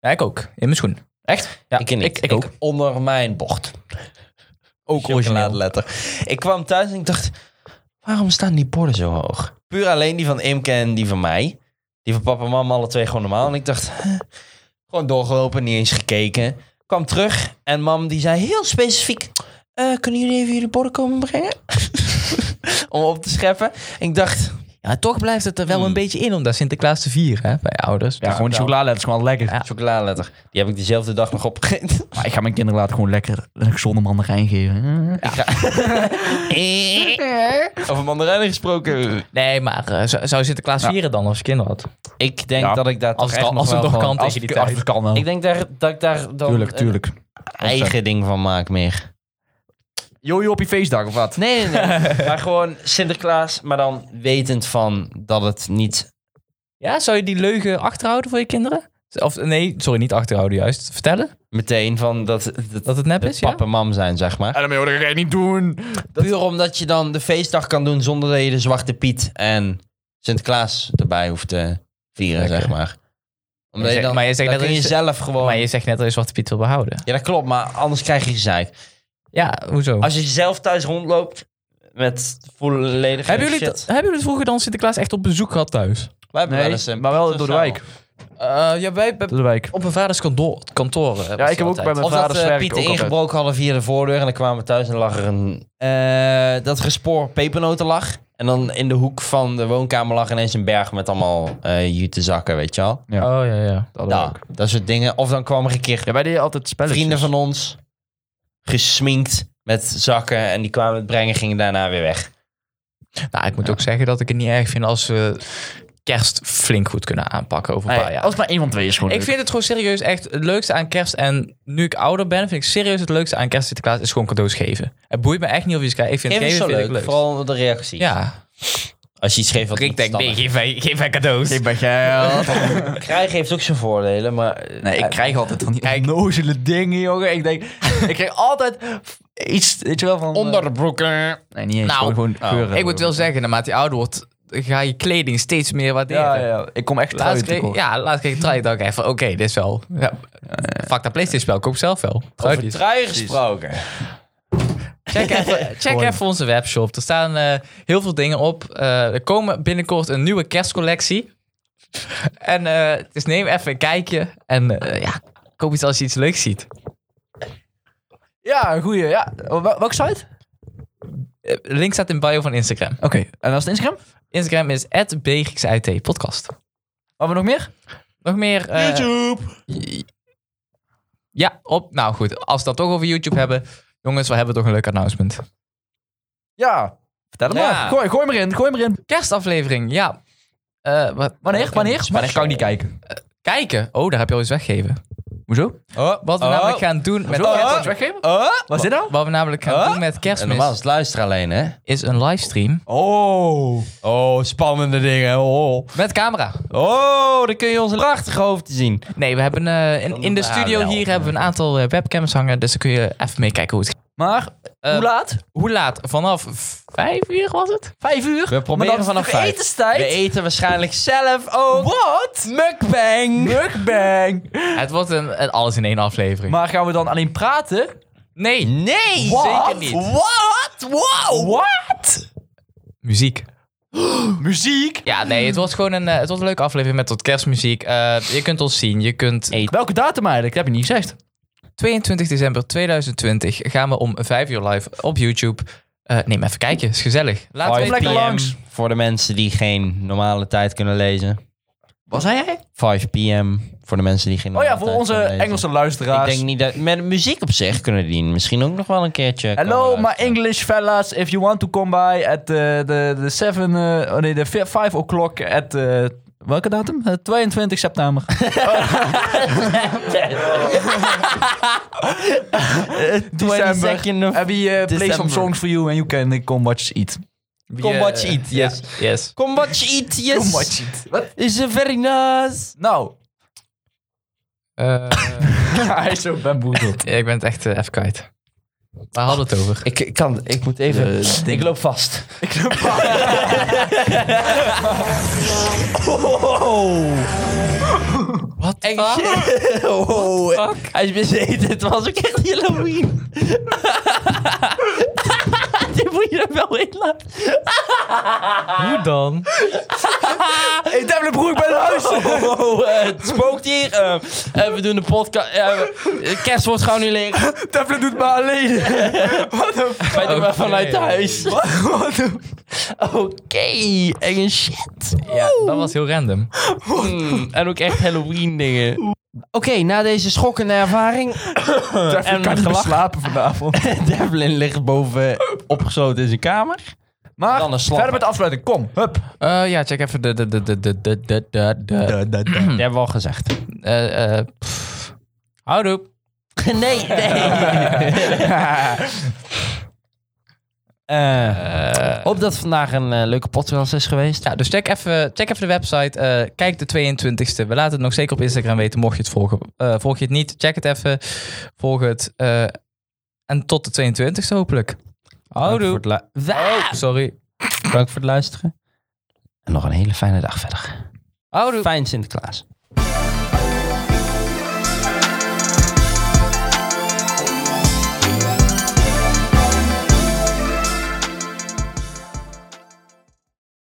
Speaker 2: Ja, ik ook. In mijn schoen.
Speaker 4: Echt?
Speaker 2: Ja,
Speaker 4: ik niet.
Speaker 2: ik- ik ook.
Speaker 4: onder mijn bocht. Ook letter. Ik kwam thuis en ik dacht, waarom staan die borden zo hoog? Puur alleen die van Imke en die van mij. Die van papa en mama, alle twee gewoon normaal. En ik dacht, huh, gewoon doorgelopen, niet eens gekeken. Kwam terug en mam die zei heel specifiek, eh, kunnen jullie even jullie borden komen brengen? Om op te scheppen. En ik dacht,
Speaker 2: Ja, toch blijft het er wel
Speaker 4: Hmm.
Speaker 2: een beetje in om daar Sinterklaas te vieren, hè, bij ouders.
Speaker 3: Ja,
Speaker 2: Dus-
Speaker 3: gewoon die chocolade is gewoon lekker.
Speaker 2: Ja.
Speaker 4: chocoladeletter. Die heb ik diezelfde dag nog opgegeten.
Speaker 3: Maar ik ga mijn kinderen later gewoon lekker een gezonde mandarijn geven. Ja.
Speaker 4: Over mandarijnen gesproken.
Speaker 2: Nee, maar eh, zou zou Sinterklaas
Speaker 3: Ja.
Speaker 2: vieren dan als je kinderen had?
Speaker 4: Ik denk
Speaker 3: Ja,
Speaker 4: dat ik daar
Speaker 2: als
Speaker 4: toch
Speaker 2: het
Speaker 4: echt
Speaker 2: al-
Speaker 4: nog
Speaker 2: als het
Speaker 4: wel
Speaker 2: nog
Speaker 4: gewoon-
Speaker 2: kan.
Speaker 3: Als,
Speaker 2: Tegen die
Speaker 3: als
Speaker 2: tijd.
Speaker 3: het kan wel.
Speaker 4: Ik denk daar, dat ik daar dan
Speaker 3: Oh. tuurlijk,
Speaker 4: een
Speaker 3: tuurlijk.
Speaker 4: eigen ding van maak meer.
Speaker 3: Jojo op je feestdag of wat?
Speaker 4: Nee, nee, nee. maar gewoon Sinterklaas, maar dan wetend van dat het niet...
Speaker 2: Ja, zou je die leugen achterhouden voor je kinderen? Of nee, sorry, niet achterhouden juist. Vertellen
Speaker 4: Meteen van dat, dat,
Speaker 2: dat het nep
Speaker 4: het
Speaker 2: is, ja?
Speaker 4: pap en mam zijn, zeg maar.
Speaker 3: En dan dat ga je niet doen.
Speaker 4: Puur omdat je dan de feestdag kan doen zonder dat je de Zwarte Piet en Sinterklaas erbij hoeft te vieren,
Speaker 2: Lekker.
Speaker 4: zeg maar. Omdat
Speaker 2: Je
Speaker 4: je
Speaker 2: zegt-
Speaker 4: dan,
Speaker 2: maar je zegt
Speaker 4: dan
Speaker 2: dat
Speaker 4: kun je
Speaker 2: is-
Speaker 4: zelf gewoon...
Speaker 2: Oh, Maar je zegt net dat je Zwarte Piet wil behouden.
Speaker 4: Ja, dat klopt, maar anders krijg je gezeik.
Speaker 2: Ja, hoezo?
Speaker 4: Als je zelf thuis rondloopt met volledige
Speaker 2: Hebben jullie,
Speaker 4: shit.
Speaker 2: het- hebben jullie het vroeger dan Sinterklaas echt op bezoek gehad thuis?
Speaker 4: Wij hebben
Speaker 3: Nee,
Speaker 4: wel eens een
Speaker 3: maar wel door de
Speaker 4: pizzazaal.
Speaker 3: wijk.
Speaker 2: ja, wij
Speaker 3: Door de wijk.
Speaker 2: op mijn vaders kantoor. kantoor
Speaker 3: Ja, ik heb ook bij mijn
Speaker 4: Of dat
Speaker 3: vaders
Speaker 4: eh
Speaker 3: werk
Speaker 4: Pieten
Speaker 3: ook altijd.
Speaker 4: ingebroken hadden via de voordeur en dan kwamen we thuis en lag er een... eh, dat gespoor pepernoten lag. En dan in de hoek van de woonkamer lag ineens een berg met allemaal eh jute zakken, weet je al.
Speaker 3: Ja.
Speaker 2: Oh ja, ja.
Speaker 3: Dat hadden we
Speaker 4: Nou,
Speaker 3: ook.
Speaker 4: dat soort dingen. Of dan kwam er een keer
Speaker 3: Ja, wij deden altijd spelletjes.
Speaker 4: vrienden van ons, gesminkt met zakken. En die kwamen het brengen, gingen daarna weer weg.
Speaker 2: Nou, ik moet ook zeggen dat ik het niet erg vind als we kerst flink goed kunnen aanpakken over een paar
Speaker 3: Nee,
Speaker 2: jaar.
Speaker 3: Als het maar één van twee is gewoon
Speaker 2: Ik
Speaker 3: leuk.
Speaker 2: vind het gewoon serieus echt het leukste aan kerst. En nu ik ouder ben, vind ik serieus het leukste aan kerst Sinterklaas is gewoon cadeaus geven. Het boeit me echt niet of je iets krijgt. Ik vind het
Speaker 4: Even
Speaker 2: geven
Speaker 4: zo
Speaker 2: vind
Speaker 4: leuk,
Speaker 2: ik leuk.
Speaker 4: vooral de reacties.
Speaker 2: Ja.
Speaker 4: Als je iets geeft wat
Speaker 2: Ik denk, nee, geef mij, geef mij cadeaus.
Speaker 3: Ik ben geld.
Speaker 4: Krijgen heeft ook zijn voordelen, maar...
Speaker 3: Nee, ik krijg altijd van die onnozele dingen, jongen. Ik denk, ik krijg altijd iets, weet je wel, van... eh,
Speaker 4: Onderbroeken.
Speaker 3: nee, niet eens,
Speaker 2: Nou,
Speaker 3: gewoon,
Speaker 4: oh.
Speaker 3: gewoon geuren.
Speaker 2: Ik moet wel zeggen, naarmate je ouder wordt, ga je kleding steeds meer waarderen.
Speaker 3: Ja, ja, ik kom echt
Speaker 2: Laatst
Speaker 3: uit
Speaker 2: kreeg, ja, laatst kreeg ik trui. dacht ik echt van, oké, dit is wel... Ja, fuck dat Playstation spel, koop zelf wel.
Speaker 4: Over
Speaker 2: Truitjes.
Speaker 4: truien gesproken.
Speaker 2: Check even, check even onze webshop. Er staan eh, heel veel dingen op. Eh, er komen binnenkort een nieuwe kerstcollectie. En eh, dus neem even een kijkje. En eh, ja, koop iets als je iets leuks ziet.
Speaker 3: Ja, een goeie, ja. Oh, Wel- Welke site?
Speaker 2: Eh, link staat in bio van Instagram.
Speaker 3: Oké, en was het Instagram?
Speaker 2: Instagram is @bgxit podcast.
Speaker 3: Wat we nog meer?
Speaker 2: Nog meer. eh, Ja, op. Nou goed, als we het toch over YouTube hebben. Jongens, we hebben toch een leuk announcement.
Speaker 3: Ja, vertel het
Speaker 4: Ja.
Speaker 3: maar. Gooi, gooi maar in, gooi maar in.
Speaker 2: Kerstaflevering, ja. Eh, wat,
Speaker 3: Wanneer, wanneer? Wanneer kan ik niet kijken?
Speaker 2: Kijken. Oh, daar heb je al iets weggeven.
Speaker 3: Hoezo?
Speaker 4: Oh,
Speaker 2: Wat we
Speaker 4: oh.
Speaker 2: namelijk gaan doen met
Speaker 4: Oh.
Speaker 2: kerst-
Speaker 3: weggeven?
Speaker 4: Oh.
Speaker 3: Wat is dit nou?
Speaker 2: Wat we namelijk gaan
Speaker 4: Huh?
Speaker 2: doen met
Speaker 4: En normaal is
Speaker 2: kerstmis
Speaker 4: het luisteren alleen, hè?
Speaker 2: is een livestream
Speaker 4: Oh. Oh, spannende dingen. Oh,
Speaker 2: met camera.
Speaker 4: oh dan kun je onze prachtige hoofd zien.
Speaker 2: Nee, we hebben eh, in, in de
Speaker 4: Ja,
Speaker 2: studio
Speaker 4: wel.
Speaker 2: hier hebben we een aantal eh, webcams hangen, dus dan kun je even meekijken hoe het gaat.
Speaker 3: Maar,
Speaker 2: Eh,
Speaker 3: hoe laat?
Speaker 2: Hoe laat? Vanaf vijf uur was het?
Speaker 3: Vijf uur?
Speaker 4: We proberen
Speaker 3: Maar dan
Speaker 4: vanaf
Speaker 3: is
Speaker 4: vijf.
Speaker 3: de etenstijd.
Speaker 4: We eten waarschijnlijk zelf ook.
Speaker 3: Wat?
Speaker 4: Mukbang.
Speaker 3: Mukbang.
Speaker 2: Het wordt een, een alles in één aflevering.
Speaker 3: Maar gaan we dan alleen praten?
Speaker 2: nee,
Speaker 4: Nee,
Speaker 3: What?
Speaker 4: zeker niet.
Speaker 3: What? Wow. What?
Speaker 2: muziek.
Speaker 3: Muziek?
Speaker 2: Ja, nee, het wordt gewoon een, eh, het wordt een leuke aflevering met tot kerstmuziek. Eh, je kunt ons zien. Je kunt
Speaker 3: Welke datum eigenlijk? Dat heb je niet gezegd.
Speaker 2: 22 december 2020 gaan we om 5 uur live op YouTube. Eh, neem even kijken, is gezellig. Laat
Speaker 4: 5
Speaker 2: weten-
Speaker 3: lekker
Speaker 4: PM
Speaker 3: langs.
Speaker 4: Voor de mensen die geen normale tijd kunnen lezen.
Speaker 3: Wat zei jij?
Speaker 4: 5 p.m. voor de mensen die geen
Speaker 3: Oh
Speaker 4: normale
Speaker 3: ja, voor
Speaker 4: Nou, tijd
Speaker 3: onze
Speaker 4: kunnen lezen.
Speaker 3: Engelse luisteraars.
Speaker 4: Ik denk niet dat... Met muziek op zich kunnen die misschien ook nog wel een keertje...
Speaker 3: Hello,
Speaker 4: komen
Speaker 3: my
Speaker 4: luisteren.
Speaker 3: English fellas. If you want to come by at eh, the, the seven, eh, oh nee, de vi- five o'clock at... eh, welke datum? Eh, 22 september. Eh, December.
Speaker 4: 22nd of
Speaker 3: Heb je eh, play some
Speaker 4: December.
Speaker 3: songs for you and you can eh, come watch eat.
Speaker 4: Come
Speaker 2: eh,
Speaker 4: watch it,
Speaker 2: ja,
Speaker 4: yes.
Speaker 2: yes.
Speaker 4: Come watch it, yes.
Speaker 3: Come watch eat. Wat?
Speaker 4: Is a very nice.
Speaker 3: Nou,
Speaker 2: Eh,
Speaker 3: hij is zo bamboezeld.
Speaker 2: ja, ik ben het echt eh, even kwijt. Waar hadden we het over?
Speaker 4: Ik kan... Ik moet even... ik loop vast.
Speaker 2: Wat?
Speaker 4: Oh, hij is bezeten. Het was ook echt Halloween. Dit moet je er wel in laten.
Speaker 2: Hoe dan?
Speaker 3: hey, Devlin Broer, ik ben thuis!
Speaker 4: Oh, eh, het spookt hier. Eh, eh, we doen de podcast. eh, eh, kerst wordt gewoon nu leeg.
Speaker 3: Devlin doet me alleen. Wat een... f-
Speaker 4: Wij doen maar
Speaker 2: Oké.
Speaker 4: vanuit huis.
Speaker 3: Wat een...
Speaker 4: Oké, enge shit.
Speaker 2: Ja, dat was heel random.
Speaker 4: Mm, en ook echt Halloween dingen. Oké, na deze schokkende ervaring.
Speaker 3: Devlin
Speaker 4: En
Speaker 3: kan niet meer
Speaker 4: gelach.
Speaker 3: slapen vanavond.
Speaker 4: Devlin ligt boven opgesloten in zijn kamer.
Speaker 3: Maar
Speaker 4: Dan een slap.
Speaker 3: verder met de afsluiting. Kom, hup.
Speaker 2: Eh, ja, check even de... de, de, de, de, de, de, de, de
Speaker 4: Dat hebben we al gezegd.
Speaker 2: eh, eh, pff. Houdoe.
Speaker 4: nee, nee. hoop dat vandaag een eh, leuke podcast is geweest.
Speaker 2: Ja, dus check even, check even de website. eh, kijk de 22e. We laten het nog zeker op Instagram weten, mocht je het volgen. Eh, volg je het niet, check het even. Volg het. eh, en tot de 22e hopelijk.
Speaker 4: Dank voor
Speaker 2: Houdoe.
Speaker 4: het lu-
Speaker 2: Oh, sorry.
Speaker 4: Dank voor het luisteren. En nog een hele fijne dag verder.
Speaker 2: Houdoe.
Speaker 4: Fijn Sinterklaas.